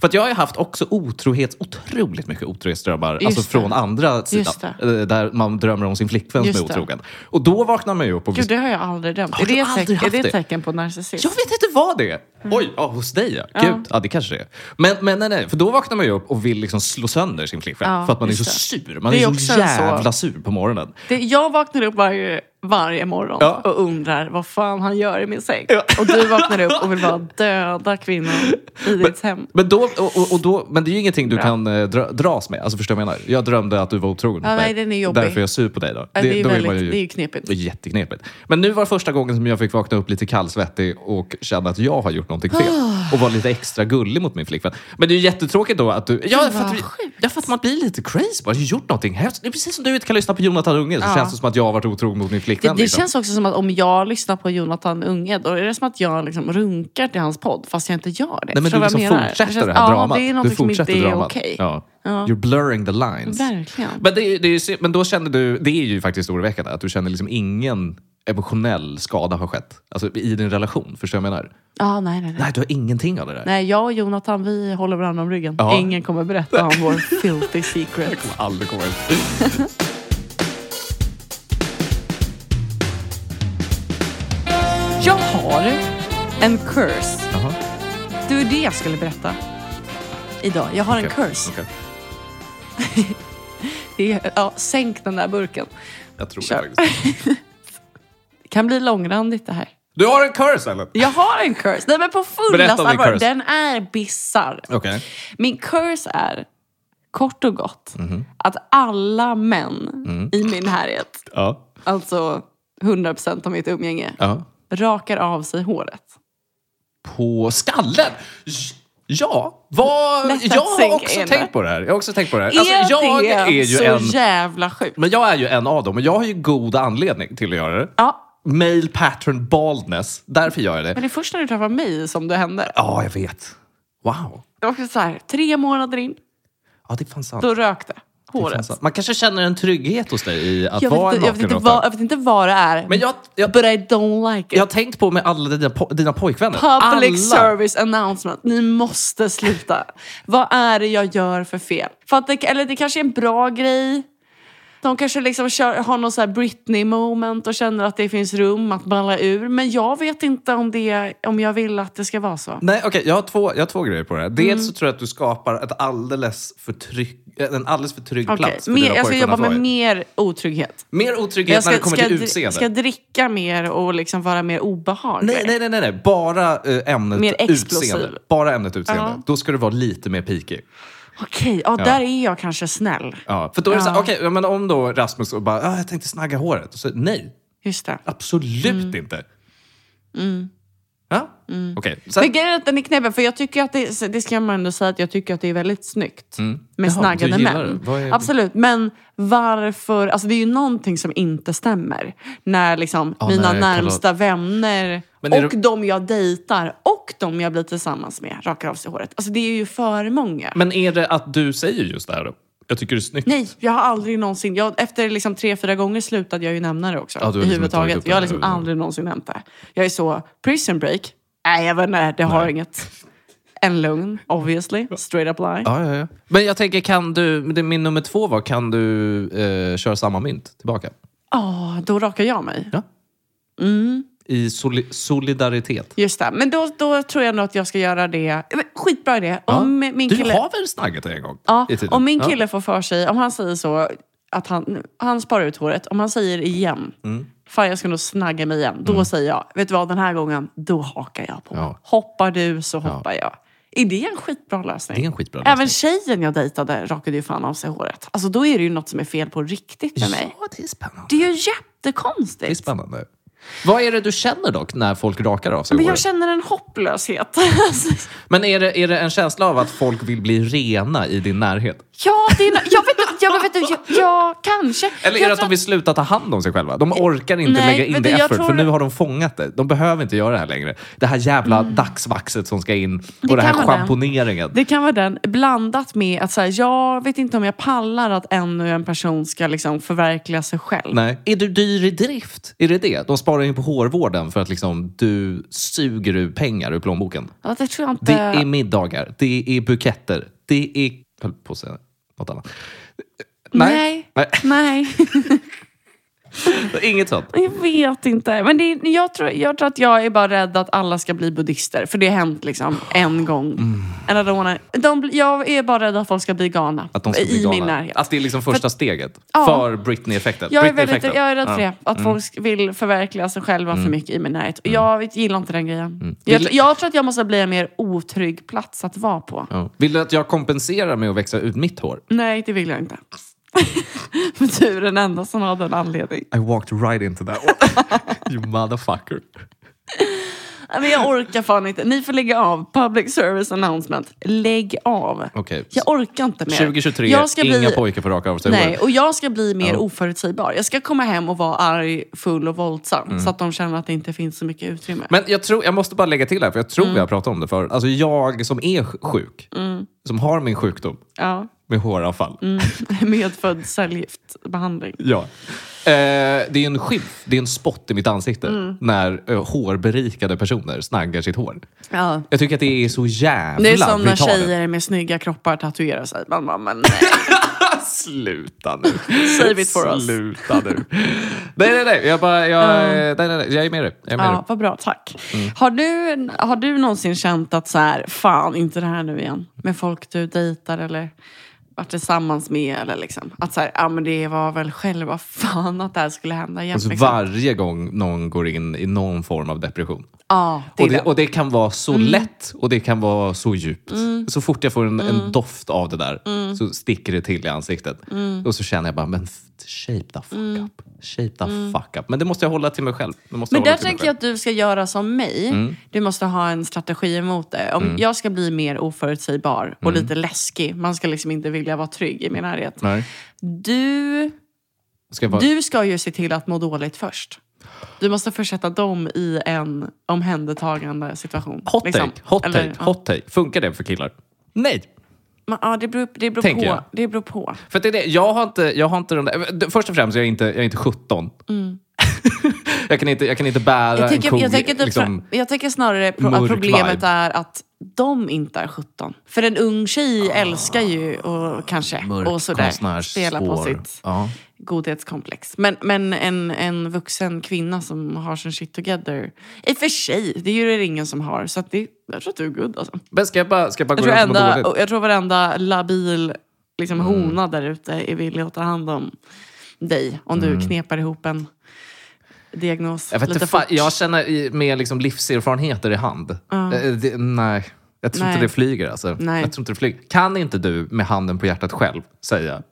Speaker 1: För att jag har ju haft också otrohets, otroligt mycket otrohetsdrömmar.
Speaker 2: Just
Speaker 1: alltså
Speaker 2: det.
Speaker 1: från andra sidan. eh, Där man drömmer om sin flickvän som
Speaker 2: Just
Speaker 1: är
Speaker 2: det.
Speaker 1: otrogen. Och då vaknar man ju upp och blir
Speaker 2: Gud, det har jag aldrig drömt.
Speaker 1: Har
Speaker 2: Är
Speaker 1: du
Speaker 2: det, ett
Speaker 1: aldrig
Speaker 2: tecken- är
Speaker 1: haft
Speaker 2: det
Speaker 1: det?
Speaker 2: ett tecken på narcissism?
Speaker 1: Jag vet inte vad det är.
Speaker 2: Mm.
Speaker 1: Oj, ja, hos dig ja. Gud, ja det kanske det är. Men, men nej, nej, för då vaknar man ju upp och vill liksom slå sönder sin flickvän.
Speaker 2: Ja,
Speaker 1: för att man är
Speaker 2: just
Speaker 1: så
Speaker 2: det.
Speaker 1: sur. Man
Speaker 2: Det är
Speaker 1: är,
Speaker 2: också
Speaker 1: så
Speaker 2: en
Speaker 1: jävla
Speaker 2: så-
Speaker 1: sur på morgonen.
Speaker 2: Det, jag vaknar upp varje, varje morgon
Speaker 1: Ja.
Speaker 2: och undrar vad fan han gör i min säng. Och du vaknar upp och vill bara döda kvinnor i ditt hem.
Speaker 1: Men, då, och, och- och då, men det är ju ingenting du kan eh, dra, dras med. Alltså förstår du vad jag menar? Jag drömde att du var otrogen mot
Speaker 2: Ja,
Speaker 1: mig.
Speaker 2: nej, den är jobbig.
Speaker 1: Därför är jag sur på dig då.
Speaker 2: Det, det, är,
Speaker 1: då
Speaker 2: väldigt,
Speaker 1: man
Speaker 2: det är ju knepigt.
Speaker 1: Det är jätteknepigt. Men nu var det första gången som jag fick vakna upp lite kallsvettig och känna att jag har gjort någonting fel.
Speaker 2: Ah.
Speaker 1: Och var lite extra gullig mot min flickvän. Men det är ju jättetråkigt då att du... Ja,
Speaker 2: vad
Speaker 1: för att, vi-
Speaker 2: sjukt.
Speaker 1: ja, för att man blir lite crazy. bara. Har du gjort någonting hemskt? Det är precis som du inte kan lyssna på Jonathan Unge så
Speaker 2: Ja.
Speaker 1: känns det som att jag har varit otrogen mot min
Speaker 2: Det,
Speaker 1: flickvän.
Speaker 2: det
Speaker 1: liksom.
Speaker 2: känns också som att om jag lyssnar på Jonathan Unge då är det som att jag liksom runkar till hans podd fast jag inte gör
Speaker 1: Nej,
Speaker 2: det.
Speaker 1: men
Speaker 2: Förstår
Speaker 1: du
Speaker 2: vad jag
Speaker 1: liksom
Speaker 2: menar?
Speaker 1: fortsätter
Speaker 2: känns-
Speaker 1: det här dramat.
Speaker 2: Ja, det
Speaker 1: du
Speaker 2: är något som
Speaker 1: fortsätter
Speaker 2: inte är
Speaker 1: dramat.
Speaker 2: okej.
Speaker 1: Ja.
Speaker 2: Ja.
Speaker 1: You're blurring the lines.
Speaker 2: Verkligen.
Speaker 1: Men, det är, ju- det är, ju sy- men då känner du, det är ju faktiskt oroväckande att du känner liksom ingen emotionell skada har skett. Alltså i din relation, förstår du vad jag menar?
Speaker 2: Ja, nej, nej, nej.
Speaker 1: Nej, du har ingenting av det där.
Speaker 2: Nej, jag och Jonathan vi håller varandra om ryggen.
Speaker 1: Ja.
Speaker 2: Ingen kommer berätta om vår filthy secret.
Speaker 1: Aldrig kommer ut.
Speaker 2: Jag har en curse.
Speaker 1: Jaha.
Speaker 2: Det var det jag skulle berätta idag. Jag har en
Speaker 1: Okej,
Speaker 2: curse.
Speaker 1: okej.
Speaker 2: Det är, ja, sänk den där burken.
Speaker 1: Jag tror
Speaker 2: Kör.
Speaker 1: det faktiskt.
Speaker 2: Det kan bli långrandigt det här.
Speaker 1: Du har en curse eller?
Speaker 2: Jag har en curse. Nej, men på
Speaker 1: Berätta
Speaker 2: fullaste
Speaker 1: om din
Speaker 2: allvar.
Speaker 1: curse.
Speaker 2: Den är bizarr.
Speaker 1: Okej.
Speaker 2: Min curse är, kort och gott,
Speaker 1: Mhm.
Speaker 2: att alla män
Speaker 1: Mm.
Speaker 2: i min härhet,
Speaker 1: Ja.
Speaker 2: alltså 100% av mitt umgänge,
Speaker 1: ja.
Speaker 2: rakar av sig håret.
Speaker 1: På skallen? Ja, vad,
Speaker 2: Let's
Speaker 1: jag har
Speaker 2: think
Speaker 1: också
Speaker 2: in.
Speaker 1: tänkt på det här. Jag har också tänkt på det här. Alltså, jag
Speaker 2: det
Speaker 1: är ju
Speaker 2: så
Speaker 1: en,
Speaker 2: jävla sjukt?
Speaker 1: men jag är ju en av dem och jag har ju god anledning till att göra det.
Speaker 2: Ja,
Speaker 1: Male pattern baldness. Därför gör jag det.
Speaker 2: men det är först när du träffar mig som det händer.
Speaker 1: Ja, jag vet. Wow.
Speaker 2: Det var också så här, tre månader in,
Speaker 1: Ja, det är fan sant.
Speaker 2: då rökte
Speaker 1: Det är fan
Speaker 2: håret.
Speaker 1: sant. Man kanske känner en trygghet hos dig i att
Speaker 2: Jag
Speaker 1: vara
Speaker 2: vet, inte, jag, vet
Speaker 1: en
Speaker 2: inte
Speaker 1: nakenråtta.
Speaker 2: vad, jag vet inte vad det är,
Speaker 1: Men jag, jag,
Speaker 2: but I don't like it.
Speaker 1: jag har tänkt på med alla dina, po- dina pojkvänner.
Speaker 2: Public
Speaker 1: alla.
Speaker 2: service announcement. Ni måste sluta. Vad är det jag gör för fel? För att det, eller det kanske är en bra grej. De kanske liksom kör, har någon så här Britney moment och känner att det finns rum att balla ur. Men jag vet inte om, det, om jag vill att det ska vara så.
Speaker 1: Nej, okej. jag, har två, jag har två grejer på det här. Dels
Speaker 2: Mm.
Speaker 1: så tror jag att du skapar ett alldeles för trygg, en alldeles för trygg
Speaker 2: Okej,
Speaker 1: plats för
Speaker 2: mer,
Speaker 1: dina
Speaker 2: jag ska jobba
Speaker 1: pojkvänner.
Speaker 2: med
Speaker 1: att vara i.
Speaker 2: mer otrygghet.
Speaker 1: Mer otrygghet
Speaker 2: Jag ska,
Speaker 1: när det kommer
Speaker 2: ska,
Speaker 1: till
Speaker 2: dri-
Speaker 1: utseende.
Speaker 2: ska dricka mer och liksom vara mer obehaglig.
Speaker 1: Nej, nej, nej, nej, nej. Bara eh, ämnet
Speaker 2: Mer explosiv.
Speaker 1: utseende. Bara ämnet utseende.
Speaker 2: Ja.
Speaker 1: Då ska du vara lite mer pikig.
Speaker 2: Okej, ja, där är jag kanske snäll.
Speaker 1: Ja, för då är det så här,
Speaker 2: Ja.
Speaker 1: okej, ja, men om då Rasmus och bara, ah, jag tänkte snagga håret. Och så, nej,
Speaker 2: Just det.
Speaker 1: absolut
Speaker 2: Mm.
Speaker 1: inte. Ja, okej. Sen-
Speaker 2: Men grejen är att den är knäppen, för jag tycker att det, det ska man ändå säga att jag tycker att det är väldigt snyggt med
Speaker 1: Mm. Jaha,
Speaker 2: snaggade
Speaker 1: du gillar
Speaker 2: män.
Speaker 1: det. Vad är-
Speaker 2: Absolut, men varför? Alltså det är ju någonting som inte stämmer. När liksom
Speaker 1: Ja,
Speaker 2: mina
Speaker 1: nej,
Speaker 2: närmsta vänner
Speaker 1: Men är
Speaker 2: och
Speaker 1: det-
Speaker 2: de jag dejtar och de jag blir tillsammans med rakar av sig håret. Alltså det är ju för många.
Speaker 1: Men är det att du säger just det här då? Jag tycker det är snyggt.
Speaker 2: Nej, jag har aldrig någonsin... Jag, efter liksom tre, fyra gånger slutade jag ju nämna det också.
Speaker 1: Ja, du har liksom
Speaker 2: I
Speaker 1: inte tagit upp
Speaker 2: huvudtaget.
Speaker 1: det
Speaker 2: Jag har
Speaker 1: här
Speaker 2: liksom
Speaker 1: över-
Speaker 2: aldrig någonsin nämnt det. Jag är så, prison break? Nej, jag vet inte. Det har inget. En lugn, obviously. Straight up line.
Speaker 1: Ja, ja, ja. Men jag tänker, kan du, det min nummer två var, kan du eh, köra samma mynt tillbaka?
Speaker 2: Ja, då rakar jag mig.
Speaker 1: Ja. I soli- solidaritet.
Speaker 2: Just det. Men då, då tror jag nog att jag ska göra det. Men Skitbra idé. Om
Speaker 1: Ja.
Speaker 2: min
Speaker 1: du
Speaker 2: kille...
Speaker 1: har väl snaggat dig en gång?
Speaker 2: Ja,
Speaker 1: i tiden?
Speaker 2: om min
Speaker 1: Ja.
Speaker 2: kille får för sig, om han säger så, att han, han sparar ut håret. Om han säger igen,
Speaker 1: Mm.
Speaker 2: fan jag ska nog snagga mig igen. Då säger jag, vet du vad, den här gången, då hakar jag på.
Speaker 1: Ja.
Speaker 2: Hoppar du så hoppar jag. Är det en skitbra lösning?
Speaker 1: Det är en skitbra
Speaker 2: Även tjejen jag dejtade rakade ju fan av sig håret. Alltså då är det ju något som är fel på riktigt med mig.
Speaker 1: Ja, det är spännande.
Speaker 2: Det är ju
Speaker 1: Det är
Speaker 2: jättekonstigt.
Speaker 1: spännande. Vad är det du känner dock när folk rakar av sig
Speaker 2: Men
Speaker 1: håret?
Speaker 2: jag känner en hopplöshet.
Speaker 1: Men är det, är det en känsla av att folk vill bli rena i din närhet?
Speaker 2: ja, det är, no- jag vet inte, jag vet inte, jag, jag kanske.
Speaker 1: Eller är
Speaker 2: jag
Speaker 1: det att de vill sluta ta hand om sig själva? De orkar inte
Speaker 2: Nej,
Speaker 1: lägga in
Speaker 2: vet
Speaker 1: det
Speaker 2: du, jag
Speaker 1: effort, för
Speaker 2: tror-
Speaker 1: nu har de fångat det. De behöver inte göra det här längre. Det här jävla dagsvaxet som ska in och
Speaker 2: Mm. Det
Speaker 1: den här
Speaker 2: kan vara det.
Speaker 1: schamponeringen.
Speaker 2: Det kan vara den, blandat med att så här, jag vet inte om jag pallar att ännu en person ska liksom förverkliga sig själv.
Speaker 1: Nej. Är du dyr i drift? Är det det? De sparar in på hårvården för att liksom, du suger ur pengar ur plånboken.
Speaker 2: Ja, det tror jag inte.
Speaker 1: Det är middagar, det är buketter, det är... Jag höll på att säga något annat.
Speaker 2: Nej.
Speaker 1: Nej.
Speaker 2: Nej,
Speaker 1: Inget sånt.
Speaker 2: jag vet inte. Men det är, jag, tror, jag tror att jag är bara rädd att alla ska bli buddister. För det har hänt liksom en gång.
Speaker 1: Mm.
Speaker 2: And I don't wanna, de, bli- jag är bara rädd att folk ska bli galna.
Speaker 1: Att de ska bli
Speaker 2: I
Speaker 1: galna.
Speaker 2: min närhet.
Speaker 1: Att det är liksom första steget
Speaker 2: Ja.
Speaker 1: för Britney-effekten.
Speaker 2: Jag är, väldigt,
Speaker 1: Britney-effekten.
Speaker 2: jag är rädd
Speaker 1: Ja. Mm.
Speaker 2: för det. Att folk vill förverkliga sig själva för mycket i min närhet. Och jag vet- gillar inte den grejen. Jag,
Speaker 1: Mm. Vill-
Speaker 2: jag tror att jag måste bli en mer otrygg plats att vara på.
Speaker 1: Ja. Vill du att jag kompenserar med att växa ut mitt hår?
Speaker 2: Nej, det vill jag inte. Men du är den enda som hade en anledning.
Speaker 1: I walked right into that one. you motherfucker.
Speaker 2: Nej, Men jag orkar fan inte. Ni får lägga av. Public service announcement. Lägg av.
Speaker 1: Okej.
Speaker 2: Jag orkar inte mer.
Speaker 1: 2023,
Speaker 2: jag ska
Speaker 1: inga
Speaker 2: bli...
Speaker 1: pojkar får raka av sig
Speaker 2: Nej,
Speaker 1: håret.
Speaker 2: och jag ska bli mer oförutsägbar. Jag ska komma hem och vara arg, full och våldsam. Så att de känner att det inte finns så mycket utrymme.
Speaker 1: Men jag, tror, jag måste bara lägga till här, för jag
Speaker 2: Mm.
Speaker 1: tror vi har pratat om det förut. Alltså jag som är sj- sjuk, som har min sjukdom
Speaker 2: Ja.
Speaker 1: med
Speaker 2: Mm.
Speaker 1: håravfall.
Speaker 2: Medfödd cellgiftbehandling.
Speaker 1: Ja. Eh, det är en skymf, det är en spott i mitt ansikte
Speaker 2: Mm.
Speaker 1: när eh, hårberikade personer snaggar sitt hår.
Speaker 2: Ja.
Speaker 1: Jag tycker att det är så jävla
Speaker 2: Det är som när
Speaker 1: brutalt.
Speaker 2: tjejer med snygga kroppar tatuerar sig. Man bara, men nej.
Speaker 1: Sluta nu.
Speaker 2: Save it for us.
Speaker 1: Sluta nu. nej, nej, nej. Jag, bara, jag, nej, nej, nej. jag är med dig. Jag är med
Speaker 2: Ja, vad bra, tack. Har, du, har du någonsin känt att så här, fan inte det här nu igen? Med folk du dejtar eller varit tillsammans med. Eller liksom. Att så här, ja, men det var väl själva fan att det här skulle hända igen.
Speaker 1: dig.
Speaker 2: liksom.
Speaker 1: Alltså, Varje gång någon går in i någon form av depression.
Speaker 2: ja, det är
Speaker 1: Och
Speaker 2: det.
Speaker 1: det, och det kan vara så
Speaker 2: Mm.
Speaker 1: lätt och det kan vara så djupt. Så fort jag får en,
Speaker 2: Mm.
Speaker 1: en doft
Speaker 2: Mm.
Speaker 1: av det där så sticker det till i ansiktet. Och så känner jag bara, men f- shape the fuck up. Shape the fuck up. Men det måste jag hålla till mig själv. Det måste
Speaker 2: Mm. Men
Speaker 1: jag hålla
Speaker 2: där
Speaker 1: till mig
Speaker 2: tänker jag att du ska göra som mig. Du måste ha en strategi emot det. Om Jag ska bli mer oförutsägbar och lite läskig. Man ska liksom inte vilja vara trygg i min närhet.
Speaker 1: själv. Nej.
Speaker 2: Du,
Speaker 1: Ska jag vara...
Speaker 2: du ska ju se till att må dåligt först. Du måste försätta dem i en omhändertagande situation.
Speaker 1: Hot take,
Speaker 2: liksom.
Speaker 1: hot take,
Speaker 2: Eller, ja.
Speaker 1: hot take. Funkar det för killar? Nej!
Speaker 2: Men, ja, det beror, det beror
Speaker 1: Tänker jag.
Speaker 2: på. Det beror på.
Speaker 1: För att det är det, jag har inte, jag har inte den där... Först och främst, jag är inte, jag är inte 17. jag, kan inte, jag kan inte bära
Speaker 2: Mm. Jag
Speaker 1: en
Speaker 2: tänker,
Speaker 1: ko.
Speaker 2: jag tänker, typ
Speaker 1: liksom,
Speaker 2: fra- jag tänker snarare pro
Speaker 1: mörk
Speaker 2: att problemet
Speaker 1: vibe.
Speaker 2: är att de inte är 17. För en ung tjej älskar ju och kanske
Speaker 1: Ah. mörk
Speaker 2: och sådär,
Speaker 1: konstnärsspår.
Speaker 2: spela på sitt
Speaker 1: Ja.
Speaker 2: godhetskomplex. Men, men en, en vuxen kvinna som har sin shit together. I och för sig, det är ju det ingen som har. Så att det, jag tror att du är good alltså.
Speaker 1: Men ska jag bara, ska jag bara
Speaker 2: Jag
Speaker 1: gå
Speaker 2: tror,
Speaker 1: runt och må
Speaker 2: enda,
Speaker 1: dåligt? Mm.
Speaker 2: och jag tror varenda labil liksom, hona där ute är villig att ta hand om dig. Om du knepar ihop en diagnos
Speaker 1: Mm. Jag, vet inte,
Speaker 2: lite
Speaker 1: fan,
Speaker 2: fort.
Speaker 1: jag känner i- med liksom livserfarenheter i hand. Eh, Det, nej, jag tror
Speaker 2: Nej.
Speaker 1: inte det flyger. Alltså.
Speaker 2: Nej.
Speaker 1: Jag tror inte det flyger. Kan inte du med handen på hjärtat själv säga?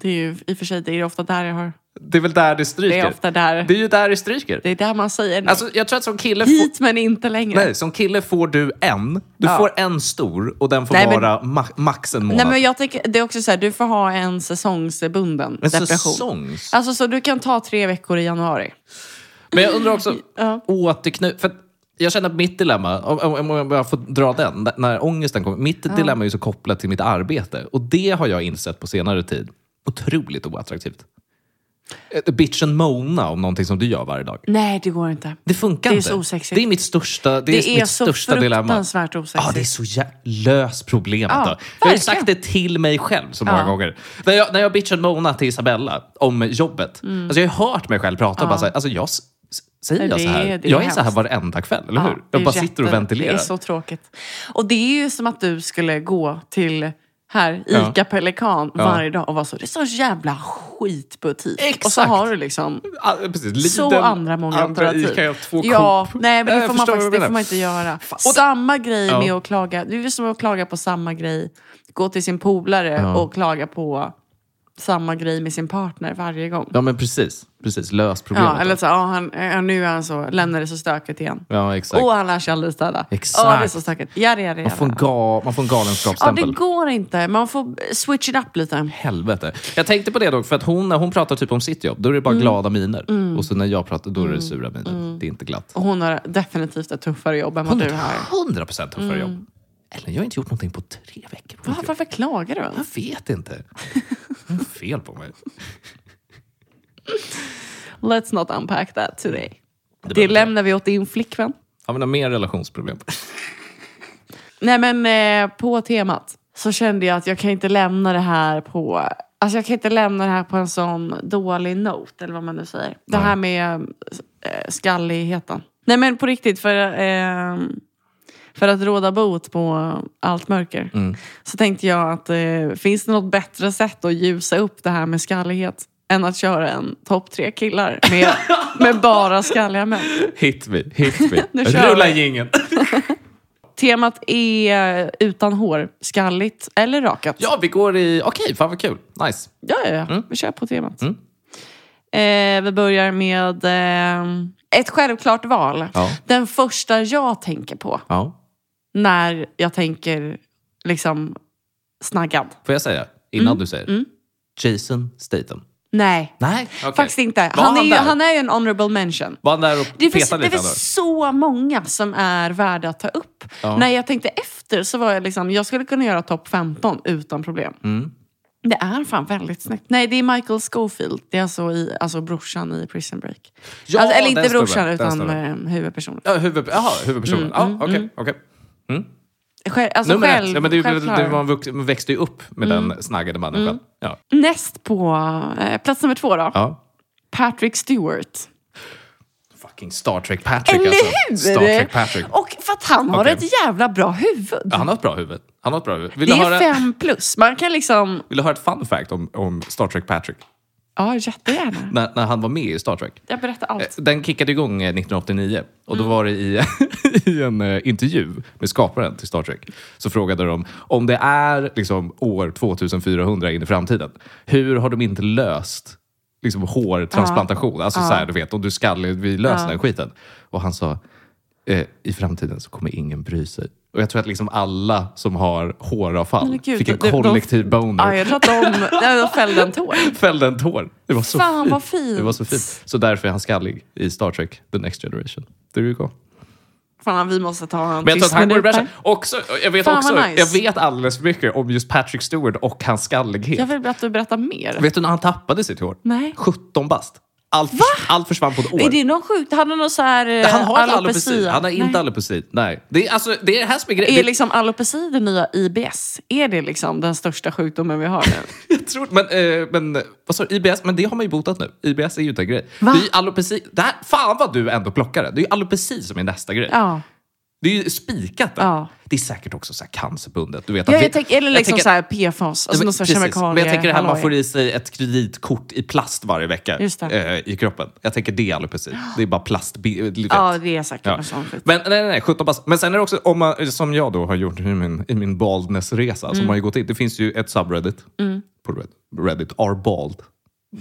Speaker 2: Det är ju i och för sig det är ofta där jag har...
Speaker 1: Det är väl där det stryker?
Speaker 2: Det är ofta där.
Speaker 1: Det är ju där det stryker.
Speaker 2: Det är där man säger nej.
Speaker 1: Alltså, jag tror att som kille, får,
Speaker 2: Hit men inte längre.
Speaker 1: nej, som kille får du en. Du
Speaker 2: Ja.
Speaker 1: får en stor och den får
Speaker 2: Nej, men-
Speaker 1: vara ma- max en månad.
Speaker 2: Nej, men jag tänker, det är också så här, du får ha en säsongsbunden
Speaker 1: en
Speaker 2: depression.
Speaker 1: säsongs...
Speaker 2: Alltså så du kan ta tre veckor i januari.
Speaker 1: Men jag undrar också,
Speaker 2: Ja.
Speaker 1: återknut... För att jag känner att mitt dilemma, om, om, om jag får dra den, när- när ångesten kommer. Mitt dilemma är ju så kopplat till mitt arbete. Och det har jag insett på senare tid. Otroligt oattraktivt. Eh, Bitch and mona om någonting som du gör varje dag.
Speaker 2: Nej, det går inte.
Speaker 1: Det funkar
Speaker 2: Det är
Speaker 1: inte.
Speaker 2: så osexigt.
Speaker 1: Det är mitt största, det är
Speaker 2: Det är,
Speaker 1: mitt
Speaker 2: så
Speaker 1: största dilemma.
Speaker 2: fruktansvärt osexigt.
Speaker 1: Ja, det är så jä- lös problemet. då.
Speaker 2: Ja,
Speaker 1: Jag har ju
Speaker 2: verkligen.
Speaker 1: sagt det till mig själv så många
Speaker 2: Ja.
Speaker 1: gånger. När jag, när jag bitchade Mona till Isabella om jobbet.
Speaker 2: Mm.
Speaker 1: Alltså jag har ju hört mig själv prata och bara så här, alltså jag s- s- säger
Speaker 2: Nej,
Speaker 1: jag
Speaker 2: det
Speaker 1: så här.
Speaker 2: är- det är
Speaker 1: jag är
Speaker 2: hemskt.
Speaker 1: så här varenda kväll, eller
Speaker 2: Ja,
Speaker 1: hur?
Speaker 2: det
Speaker 1: Jag
Speaker 2: är
Speaker 1: bara sitter och
Speaker 2: jätte-
Speaker 1: ventilerar.
Speaker 2: Det är så tråkigt. Och det är ju som att du skulle gå till här,
Speaker 1: Ja.
Speaker 2: Ica Pelikan varje dag och vara så, det är så jävla skitbutik. Och så
Speaker 1: Exakt.
Speaker 2: har du liksom
Speaker 1: Ah, precis. Lidl,
Speaker 2: så andra många
Speaker 1: andra
Speaker 2: alternativ.
Speaker 1: Ica, två
Speaker 2: ja,
Speaker 1: Coop.
Speaker 2: nej, men
Speaker 1: Äh,
Speaker 2: det, får man
Speaker 1: förstår vad
Speaker 2: faktiskt,
Speaker 1: du
Speaker 2: det får man
Speaker 1: menar?
Speaker 2: inte göra.
Speaker 1: och det-
Speaker 2: Samma grej
Speaker 1: Ja.
Speaker 2: med att klaga. Det är som att klaga på samma grej. Gå till sin polare och klaga på samma grej med sin partner varje gång.
Speaker 1: Ja, men precis. Precis, lös problemet.
Speaker 2: Ja, eller så, ja, han, ja, nu är han så, lämnar det så stökigt igen.
Speaker 1: Ja, exakt.
Speaker 2: Och han lär sig aldrig städa.
Speaker 1: Exakt.
Speaker 2: Åh, det är så stökigt. Jari, jari,
Speaker 1: man, får en
Speaker 2: jari.
Speaker 1: ga- man får en
Speaker 2: Ja,
Speaker 1: galenskapsstämpel.
Speaker 2: det går inte. Man får switch it up lite.
Speaker 1: Helvete. Jag tänkte på det dock, för att hon, när hon pratar typ om sitt jobb, då är det
Speaker 2: Mm.
Speaker 1: bara glada miner. Och så när jag pratar, då är det sura miner. Det är inte glatt.
Speaker 2: Och hon har definitivt ett tuffare jobb än vad
Speaker 1: Hon
Speaker 2: Mm. du
Speaker 1: har
Speaker 2: har. Mm.
Speaker 1: ett 100 procent tuffare jobb. Eller jag har inte gjort någonting på tre veckor. På
Speaker 2: Va,
Speaker 1: mitt jobb.
Speaker 2: varför klagar du? ens?
Speaker 1: Jag vet inte. Hon har fel på mig.
Speaker 2: Let's not unpack that today. Det
Speaker 1: behöver
Speaker 2: lämnar vi åt din flickvän.
Speaker 1: Jag menar, mer relationsproblem.
Speaker 2: Nej men eh, på temat så kände jag att jag kan inte lämna det här på Alltså jag kan inte lämna det här på en sån dålig note eller vad man nu säger. Det här med eh, skalligheten. Nej men på riktigt för, eh, för att råda bot på allt mörker. Så tänkte jag att eh, finns det något bättre sätt att ljusa upp det här med skallighet? Än att köra en topp tre killar med, med bara skalliga män.
Speaker 1: Hit me, hit me.
Speaker 2: Nu kör
Speaker 1: Rulla
Speaker 2: vi.
Speaker 1: jingeln.
Speaker 2: Temat är utan hår, skalligt eller rakat.
Speaker 1: Ja, vi går i... Okej, fan vad kul. Nice.
Speaker 2: Ja, ja, ja.
Speaker 1: Mm.
Speaker 2: vi kör på temat. Eh, vi börjar med ehm, ett självklart val.
Speaker 1: Ja.
Speaker 2: Den första jag tänker på
Speaker 1: Ja.
Speaker 2: när jag tänker liksom snaggad.
Speaker 1: Får jag säga, innan
Speaker 2: Mm.
Speaker 1: du säger? Jason Statham.
Speaker 2: Nej,
Speaker 1: Nej, okej.
Speaker 2: faktiskt inte.
Speaker 1: Var
Speaker 2: Han är,
Speaker 1: han
Speaker 2: ju,
Speaker 1: där?
Speaker 2: han är ju en honorable mention.
Speaker 1: Var han där och
Speaker 2: Det finns,
Speaker 1: petade
Speaker 2: det
Speaker 1: lite? ändå?
Speaker 2: finns så många som är värda att ta upp.
Speaker 1: Ja.
Speaker 2: När jag tänkte efter så var jag liksom, jag skulle kunna göra topp 15 utan problem.
Speaker 1: Mm.
Speaker 2: Det är fan väldigt snyggt. Nej, det är Michael Schofield. Det är alltså, i, alltså brorsan i Prison Break.
Speaker 1: Ja,
Speaker 2: alltså, eller
Speaker 1: den
Speaker 2: inte brorsan,
Speaker 1: snubben, den
Speaker 2: utan
Speaker 1: snubben.
Speaker 2: eh, Mm, huvudpersonen.
Speaker 1: Ja, huvud, aha, huvudpersonen. Ja, Okej, okej.
Speaker 2: Själv, alltså
Speaker 1: Nummer
Speaker 2: själv, Mm.
Speaker 1: ett. Ja, men det, är ju-
Speaker 2: självklar.
Speaker 1: det, man, vux- man växte ju upp med den snaggade mannen själv. Ja.
Speaker 2: Näst på eh, plats nummer två då.
Speaker 1: ja.
Speaker 2: Patrick Stewart.
Speaker 1: Fucking Star Trek Patrick
Speaker 2: Eller
Speaker 1: alltså.
Speaker 2: hur?
Speaker 1: Star Trek Patrick.
Speaker 2: Och för att han har
Speaker 1: Okej.
Speaker 2: ett jävla bra huvud.
Speaker 1: Ja, han har ett bra huvud. Han har ett bra huvud. Vill,
Speaker 2: Det
Speaker 1: du höra,
Speaker 2: är fem plus. Man kan liksom...
Speaker 1: vill du höra ett fun fact om, om Star Trek Patrick?
Speaker 2: Ja, jättegärna.
Speaker 1: När, när han var med i Star Trek.
Speaker 2: Jag berättar allt.
Speaker 1: Eh, Den kickade igång eh, 1989 och då var det i, i en eh, intervju med skaparen till Star Trek. Så frågade de om det är liksom år 2400 in i framtiden, hur har de inte löst liksom, hårtransplantation. Alltså så här, du vet, om du är skallig, vi löser den skiten. Och han sa, eh, i framtiden så kommer ingen bry sig. Och jag tror att liksom alla som har håravfall
Speaker 2: Men gud,
Speaker 1: fick en
Speaker 2: det- de-
Speaker 1: kollektiv boner.
Speaker 2: Ja, jag tror att de, nej, de fällde en tår.
Speaker 1: Fällde en tår. Det var så
Speaker 2: Fan,
Speaker 1: fint.
Speaker 2: vad fint.
Speaker 1: Det var så fint. Så därför är han skallig i Star Trek, The Next Generation. There you go.
Speaker 2: Fan, vi måste ta honom
Speaker 1: Men jag tror att han går i bräschen. Också, jag vet,
Speaker 2: Fan,
Speaker 1: också,
Speaker 2: vad nice.
Speaker 1: jag vet alldeles för mycket om just Patrick Stewart och hans skallighet.
Speaker 2: Jag vill att du berättar mer.
Speaker 1: Vet du när han tappade sitt hår?
Speaker 2: Nej.
Speaker 1: 17 bast. Allt, allt försvann på ett år.
Speaker 2: Är det någon sjukt? Han har någon så här eh,
Speaker 1: Han har inte
Speaker 2: alopecia?
Speaker 1: alopeci. Han har inte
Speaker 2: Nej.
Speaker 1: alopeci. Nej. Det är, alltså, det är det här som är grejen.
Speaker 2: Är
Speaker 1: Det-
Speaker 2: liksom alopeci den nya IBS? Är det liksom den största sjukdomen vi har nu?
Speaker 1: Jag tror, men, eh, men, vad sa du, IBS, men det har man ju botat nu. IBS är ju inte en grej.
Speaker 2: Va?
Speaker 1: Det är ju alopeci. Det här, fan vad du ändå plockar det. Det är ju alopeci som är nästa grej.
Speaker 2: Ja.
Speaker 1: Det är ju spikat där.
Speaker 2: Ja.
Speaker 1: Det är säkert också så här cancerbundet. Du vet,
Speaker 2: Ja,
Speaker 1: vi-
Speaker 2: jag tänk, eller liksom
Speaker 1: tänker-
Speaker 2: så här PFAS, alltså någon sorts
Speaker 1: Precis.
Speaker 2: kemikalie.
Speaker 1: Men jag tänker det här man
Speaker 2: halloj.
Speaker 1: får i sig ett kreditkort i plast varje vecka
Speaker 2: Just det.
Speaker 1: eh, i kroppen. Jag tänker det är alopeci. Det är bara plast. bi- du vet.
Speaker 2: Ja, det är säkert
Speaker 1: Ja.
Speaker 2: något sånt. skit.
Speaker 1: Men, nej, nej, nej, 17 pass. Men sen är det också, om man, som jag då har gjort i min, i min baldness-resa,
Speaker 2: Mm.
Speaker 1: som har ju gått in. Det finns ju ett subreddit på Reddit, Reddit are bald.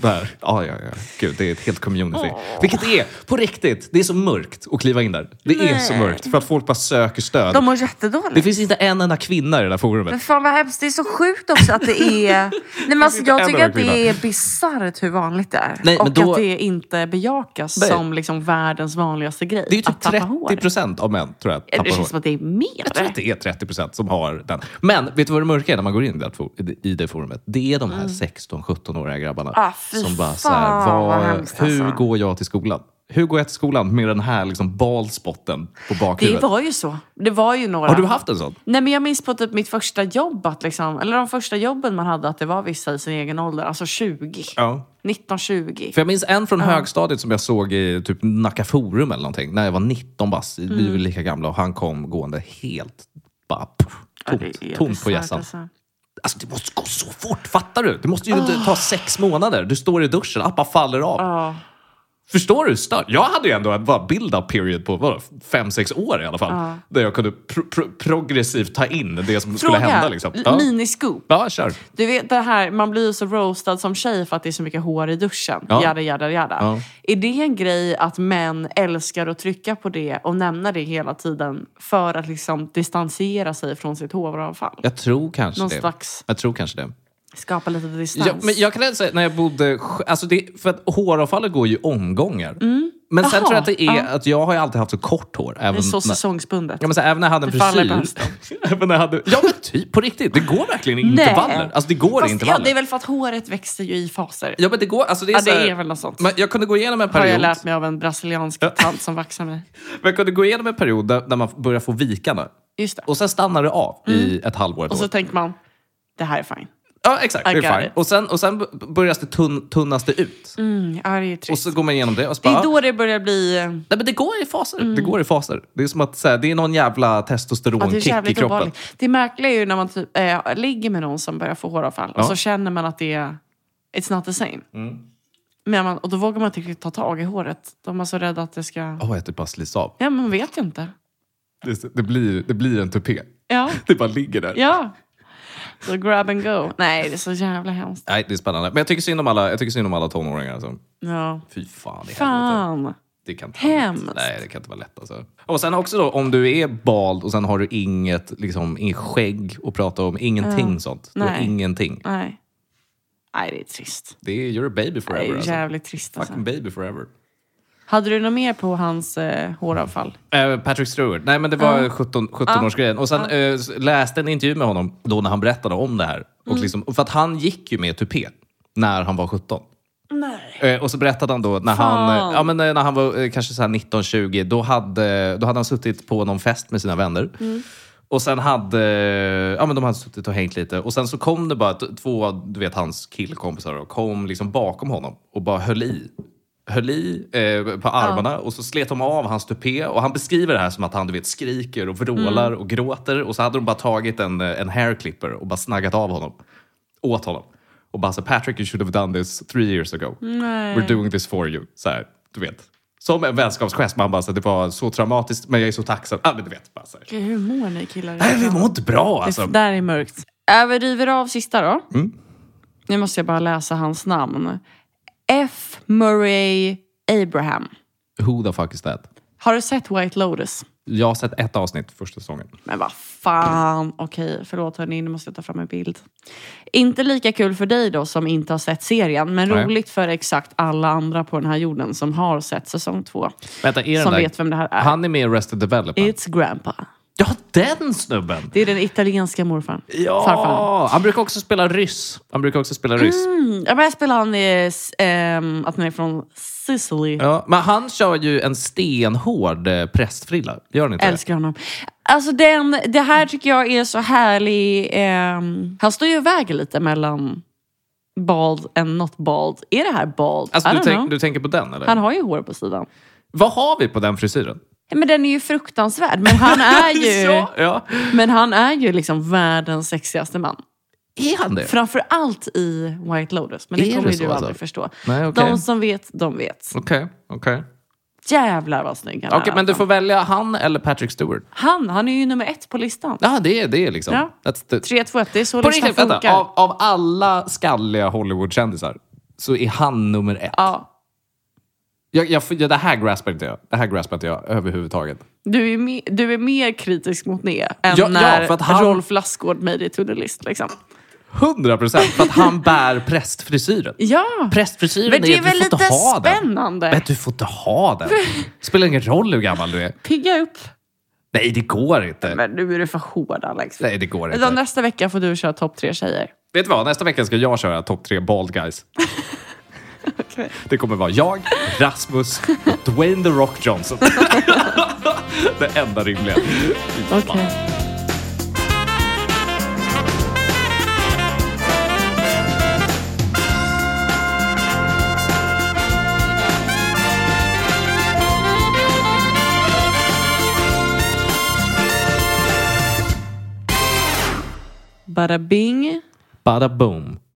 Speaker 1: Där. Ja, ja, ja. Gud, det är ett helt community. Vilket det är, på riktigt, det är så mörkt att kliva in där. Det är så
Speaker 2: Nej.
Speaker 1: mörkt för att folk bara söker stöd.
Speaker 2: De mår
Speaker 1: Det
Speaker 2: jättedåligt.
Speaker 1: finns inte en enda kvinna i det där forumet.
Speaker 2: Men fan vad hemskt, det är så sjukt också att det är... Nej, men alltså,
Speaker 1: inte en
Speaker 2: jag tycker
Speaker 1: enda
Speaker 2: att det är bisarrt hur vanligt det är.
Speaker 1: Nej, men
Speaker 2: och
Speaker 1: då-
Speaker 2: att det inte bejakas
Speaker 1: Nej.
Speaker 2: som liksom världens vanligaste grej.
Speaker 1: Det är ju typ
Speaker 2: att tappa hår.
Speaker 1: 30 procent av män, tror jag,
Speaker 2: Det
Speaker 1: tappar
Speaker 2: känns
Speaker 1: hår.
Speaker 2: som att det är mer.
Speaker 1: Jag tror att Typ det är 30 procent som har den. Men vet du vad det mörka är när man går in i det, for- i det forumet? Det är de här 16-17-åriga grabbarna.
Speaker 2: Mm. Ah, fy
Speaker 1: som bara
Speaker 2: fan,
Speaker 1: så här,
Speaker 2: vad
Speaker 1: vad-
Speaker 2: hemskt
Speaker 1: hur
Speaker 2: alltså."
Speaker 1: går jag till skolan? Hur går jag till skolan med den här liksom balspotten på
Speaker 2: Det
Speaker 1: bakhuvudet?
Speaker 2: var ju så. Det var ju några.
Speaker 1: Har du haft en sån?
Speaker 2: Nej, men jag minns på typ mitt första jobb, att liksom, eller de första jobben man hade, att det var vissa i sin egen ålder. Alltså 20.
Speaker 1: Ja.
Speaker 2: 19-20.
Speaker 1: För jag minns en från högstadiet som jag såg i typ Nacka Forum eller någonting. När jag var 19 bass,
Speaker 2: Mm.
Speaker 1: vi var lika gamla och han kom gående helt bara, pff,
Speaker 2: Ja,
Speaker 1: tomt,
Speaker 2: det är
Speaker 1: tomt på
Speaker 2: bisarrt,
Speaker 1: hjässan.
Speaker 2: alltså.
Speaker 1: Alltså det måste gå så fort, fattar du? Det måste ju inte ta sex månader. Du står i duschen, appar faller av.
Speaker 2: Ja.
Speaker 1: Förstår du? Stör. Jag hade ju ändå en bara build-up period på vadå, fem, sex år i alla fall. Där jag kunde pro- pro- progressivt ta in det som skulle hända. Liksom.
Speaker 2: l-
Speaker 1: Ja.
Speaker 2: miniscoop.
Speaker 1: ja, kör.
Speaker 2: Du vet det här, man blir ju så roastad som tjej för att det är så mycket hår i duschen.
Speaker 1: Ja.
Speaker 2: Jada, jada, jada.
Speaker 1: Ja.
Speaker 2: Är det en grej att män älskar att trycka på det och nämna det hela tiden för att liksom distansera sig från sitt håravfall?
Speaker 1: Jag tror kanske
Speaker 2: Någon
Speaker 1: det.
Speaker 2: slags-
Speaker 1: Jag tror kanske det.
Speaker 2: Skapa lite distans.
Speaker 1: Ja, men jag kan ändå säga, när jag bodde... sj- Alltså det, för att håravfallet går ju i omgångar. Men sen
Speaker 2: Mm. Jaha,
Speaker 1: tror jag att det är
Speaker 2: ja.
Speaker 1: att jag har ju alltid haft så kort hår. Även
Speaker 2: det är så
Speaker 1: när-
Speaker 2: säsongsbundet.
Speaker 1: Ja, men så här, även när Mm, jag hade en
Speaker 2: Det faller på
Speaker 1: frisyr. även när jag hade, ja men typ på riktigt, det går verkligen i
Speaker 2: Nej.
Speaker 1: intervaller. Alltså det går i
Speaker 2: Fast, ja,
Speaker 1: intervaller.
Speaker 2: det är väl för att håret växer ju i faser.
Speaker 1: Ja men det går, alltså det är,
Speaker 2: Ja,
Speaker 1: så
Speaker 2: det
Speaker 1: här,
Speaker 2: är väl något sånt.
Speaker 1: men Jag kunde gå igenom en
Speaker 2: Har jag
Speaker 1: period,
Speaker 2: lärt mig av en brasiliansk tant som vaxar mig.
Speaker 1: men jag kunde gå igenom en period där, där man börjar få vikarna.
Speaker 2: Just det.
Speaker 1: Och sen stannar det av i ett halvår, ett
Speaker 2: Mm. Och
Speaker 1: år.
Speaker 2: så tänker man, det här är fine.
Speaker 1: Ja exakt,
Speaker 2: I
Speaker 1: det
Speaker 2: got
Speaker 1: är fine.
Speaker 2: it.
Speaker 1: Och sen, och sen b- börjas det tunn, tunnas det ut.
Speaker 2: Mm, ja, det är ju
Speaker 1: Och
Speaker 2: trist.
Speaker 1: så går man igenom det och så
Speaker 2: Det
Speaker 1: bara,
Speaker 2: är då det börjar bli... eh,
Speaker 1: nej men det går i faser. Det går i faser. Det är som att så här, det är någon jävla
Speaker 2: Ja, det är
Speaker 1: testosteronkick i
Speaker 2: jävligt
Speaker 1: kroppen.
Speaker 2: obehagligt. Det märkliga är ju när man typ, eh, ligger med någon som börjar få håravfall
Speaker 1: Ja. Mm.
Speaker 2: och så känner man att det är... It's not the same. Men man, och då vågar man inte riktigt ta tag i håret. De är så rädda att det ska...
Speaker 1: Åh, jag typ bara slits av.
Speaker 2: Ja, man vet ju inte.
Speaker 1: Det, det, blir, det blir en tupé.
Speaker 2: Ja,
Speaker 1: Det bara ligger där.
Speaker 2: ja. Så grab and go. Nej, det är så jävla hemskt.
Speaker 1: Nej, det är spännande. Men jag tycker synd om alla, jag tycker synd om alla tonåringar. Alltså.
Speaker 2: Ja.
Speaker 1: Fy fan i helvete.
Speaker 2: Fan.
Speaker 1: Det kan inte vara lätt.
Speaker 2: Hemskt.
Speaker 1: Nej, det kan inte vara lätt. Alltså. Och sen också då, om du är bald och sen har du inget, liksom, inget skägg att prata om, ingenting sånt. Du har
Speaker 2: Nej.
Speaker 1: ingenting.
Speaker 2: Nej. Nej, det är trist.
Speaker 1: Det är, you're a baby
Speaker 2: Det är
Speaker 1: forever.
Speaker 2: ju
Speaker 1: Alltså.
Speaker 2: jävligt trist alltså.
Speaker 1: Fucking baby forever.
Speaker 2: Hade du något mer på hans eh, håravfall?
Speaker 1: Eh, Patrick Stewart. Nej, men det var 17, 17-årsgrejen. Och sen eh, s- läste en intervju med honom då när han berättade om det här. Och
Speaker 2: Mm.
Speaker 1: liksom, för att han gick ju med tupé när han var 17.
Speaker 2: Nej.
Speaker 1: Eh, och så berättade han då när han,
Speaker 2: Fan.
Speaker 1: eh, ja, men, eh, när han var eh, kanske så här 19-20, då hade, då hade han suttit på någon fest med sina vänner. Och sen hade, eh, ja men de hade suttit och hängt lite. Och sen så kom det bara t- två, du vet hans killkompisar då, kom liksom bakom honom och bara höll i. Höll i eh, på armarna och så slet de av hans tupé. Och han beskriver det här som att han du vet, skriker och vrålar och gråter. Och så hade de bara tagit en, eh, en hair clipper och bara snaggat av honom. Åt honom. Och bara så Patrick you should have done this three years ago.
Speaker 2: Nej.
Speaker 1: We're doing this for you. Så här, du vet. Som en vänskapsgest. Man bara, så här, det var så traumatiskt men jag är så tacksam. Ah, men du vet. Bara, så här.
Speaker 2: Gud, Hur mår ni killar?
Speaker 1: Nej, vi mår inte bra alltså.
Speaker 2: Det där är
Speaker 1: Mm.
Speaker 2: mörkt. Äh, vi river av sista då. Nu måste jag bara läsa hans namn. F. Murray Abraham.
Speaker 1: Who the fuck is that?
Speaker 2: Har du sett White Lotus?
Speaker 1: Jag har sett ett avsnitt första säsongen.
Speaker 2: Men vad fan. Okej, förlåt hörni, nu måste jag ta fram en bild. Inte lika kul för dig då som inte har sett serien, men
Speaker 1: Nej.
Speaker 2: roligt för exakt alla andra på den här jorden som har sett säsong två.
Speaker 1: Vänta, är den
Speaker 2: Som
Speaker 1: där?
Speaker 2: vet vem det här är.
Speaker 1: Han är med i Arrested Development.
Speaker 2: It's grandpa.
Speaker 1: Ja, den snubben!
Speaker 2: Det är den italienska morfarn. Farfarn.
Speaker 1: Ja! Han brukar också spela ryss. Han brukar också spela ryss.
Speaker 2: Mm, jag började spela han i, ehm, att han är från Sicily.
Speaker 1: Ja, men han kör ju en stenhård eh, prästfrilla. Gör han inte
Speaker 2: Älskar honom. Alltså den, det här tycker jag är så härlig. ehm, han står ju och väger lite mellan bald and not bald. Är det här bald?
Speaker 1: det? Alltså,
Speaker 2: I
Speaker 1: du,
Speaker 2: don't
Speaker 1: tänk,
Speaker 2: know.
Speaker 1: du tänker på den, eller?
Speaker 2: Han har ju hår på sidan.
Speaker 1: Vad har vi på den frisyren?
Speaker 2: Men den är ju fruktansvärd. Men han är ju,
Speaker 1: ja, ja.
Speaker 2: men han är ju liksom världens sexigaste man.
Speaker 1: Är han det?
Speaker 2: Framförallt i White Lotus. Men
Speaker 1: Är
Speaker 2: det
Speaker 1: det
Speaker 2: kommer ju
Speaker 1: så
Speaker 2: du
Speaker 1: alltså?
Speaker 2: aldrig förstå.
Speaker 1: Nej, okej.
Speaker 2: De som vet, de vet.
Speaker 1: Okej, okej.
Speaker 2: Jävlar vad snygg han
Speaker 1: Okej,
Speaker 2: är.
Speaker 1: men du
Speaker 2: alltså.
Speaker 1: får välja han eller Patrick Stewart.
Speaker 2: Han, han är ju nummer ett på listan.
Speaker 1: Ja, det är det är liksom.
Speaker 2: Ja.
Speaker 1: That's the...
Speaker 2: 3, 2, 1, det är så
Speaker 1: På
Speaker 2: listan
Speaker 1: riktigt,
Speaker 2: funkar.
Speaker 1: vänta. Av, av alla skalliga Hollywoodkändisar så är han nummer ett.
Speaker 2: Ja,
Speaker 1: Jag, jag, jag, det här graspar inte jag. Det här graspar inte jag överhuvudtaget.
Speaker 2: du, är me- du är mer kritisk mot Nea än
Speaker 1: Ja, ja,
Speaker 2: när
Speaker 1: för att han-
Speaker 2: Rolf Lassgård made it to the list. Liksom.
Speaker 1: 100 procent! För att han bär prästfrisyren.
Speaker 2: Ja,
Speaker 1: Prästfrisyren
Speaker 2: men det
Speaker 1: du
Speaker 2: är
Speaker 1: får
Speaker 2: väl
Speaker 1: inte
Speaker 2: lite
Speaker 1: ha den.
Speaker 2: spännande.
Speaker 1: Men du får inte ha den. Spelar ingen roll hur gammal du är.
Speaker 2: Pigga upp.
Speaker 1: Nej, det går inte.
Speaker 2: Men Alltså, nu är du för hård Alex.
Speaker 1: Nej, det går
Speaker 2: Utan
Speaker 1: inte.
Speaker 2: nästa vecka får du köra topp tre tjejer.
Speaker 1: Vet du vad? Nästa vecka ska jag köra topp tre bald guys.
Speaker 2: Okej.
Speaker 1: Det kommer vara jag, Rasmus och Dwayne The Rock Johnson. det enda rimliga. Fy fan.
Speaker 2: Bada bing.
Speaker 1: Bada boom.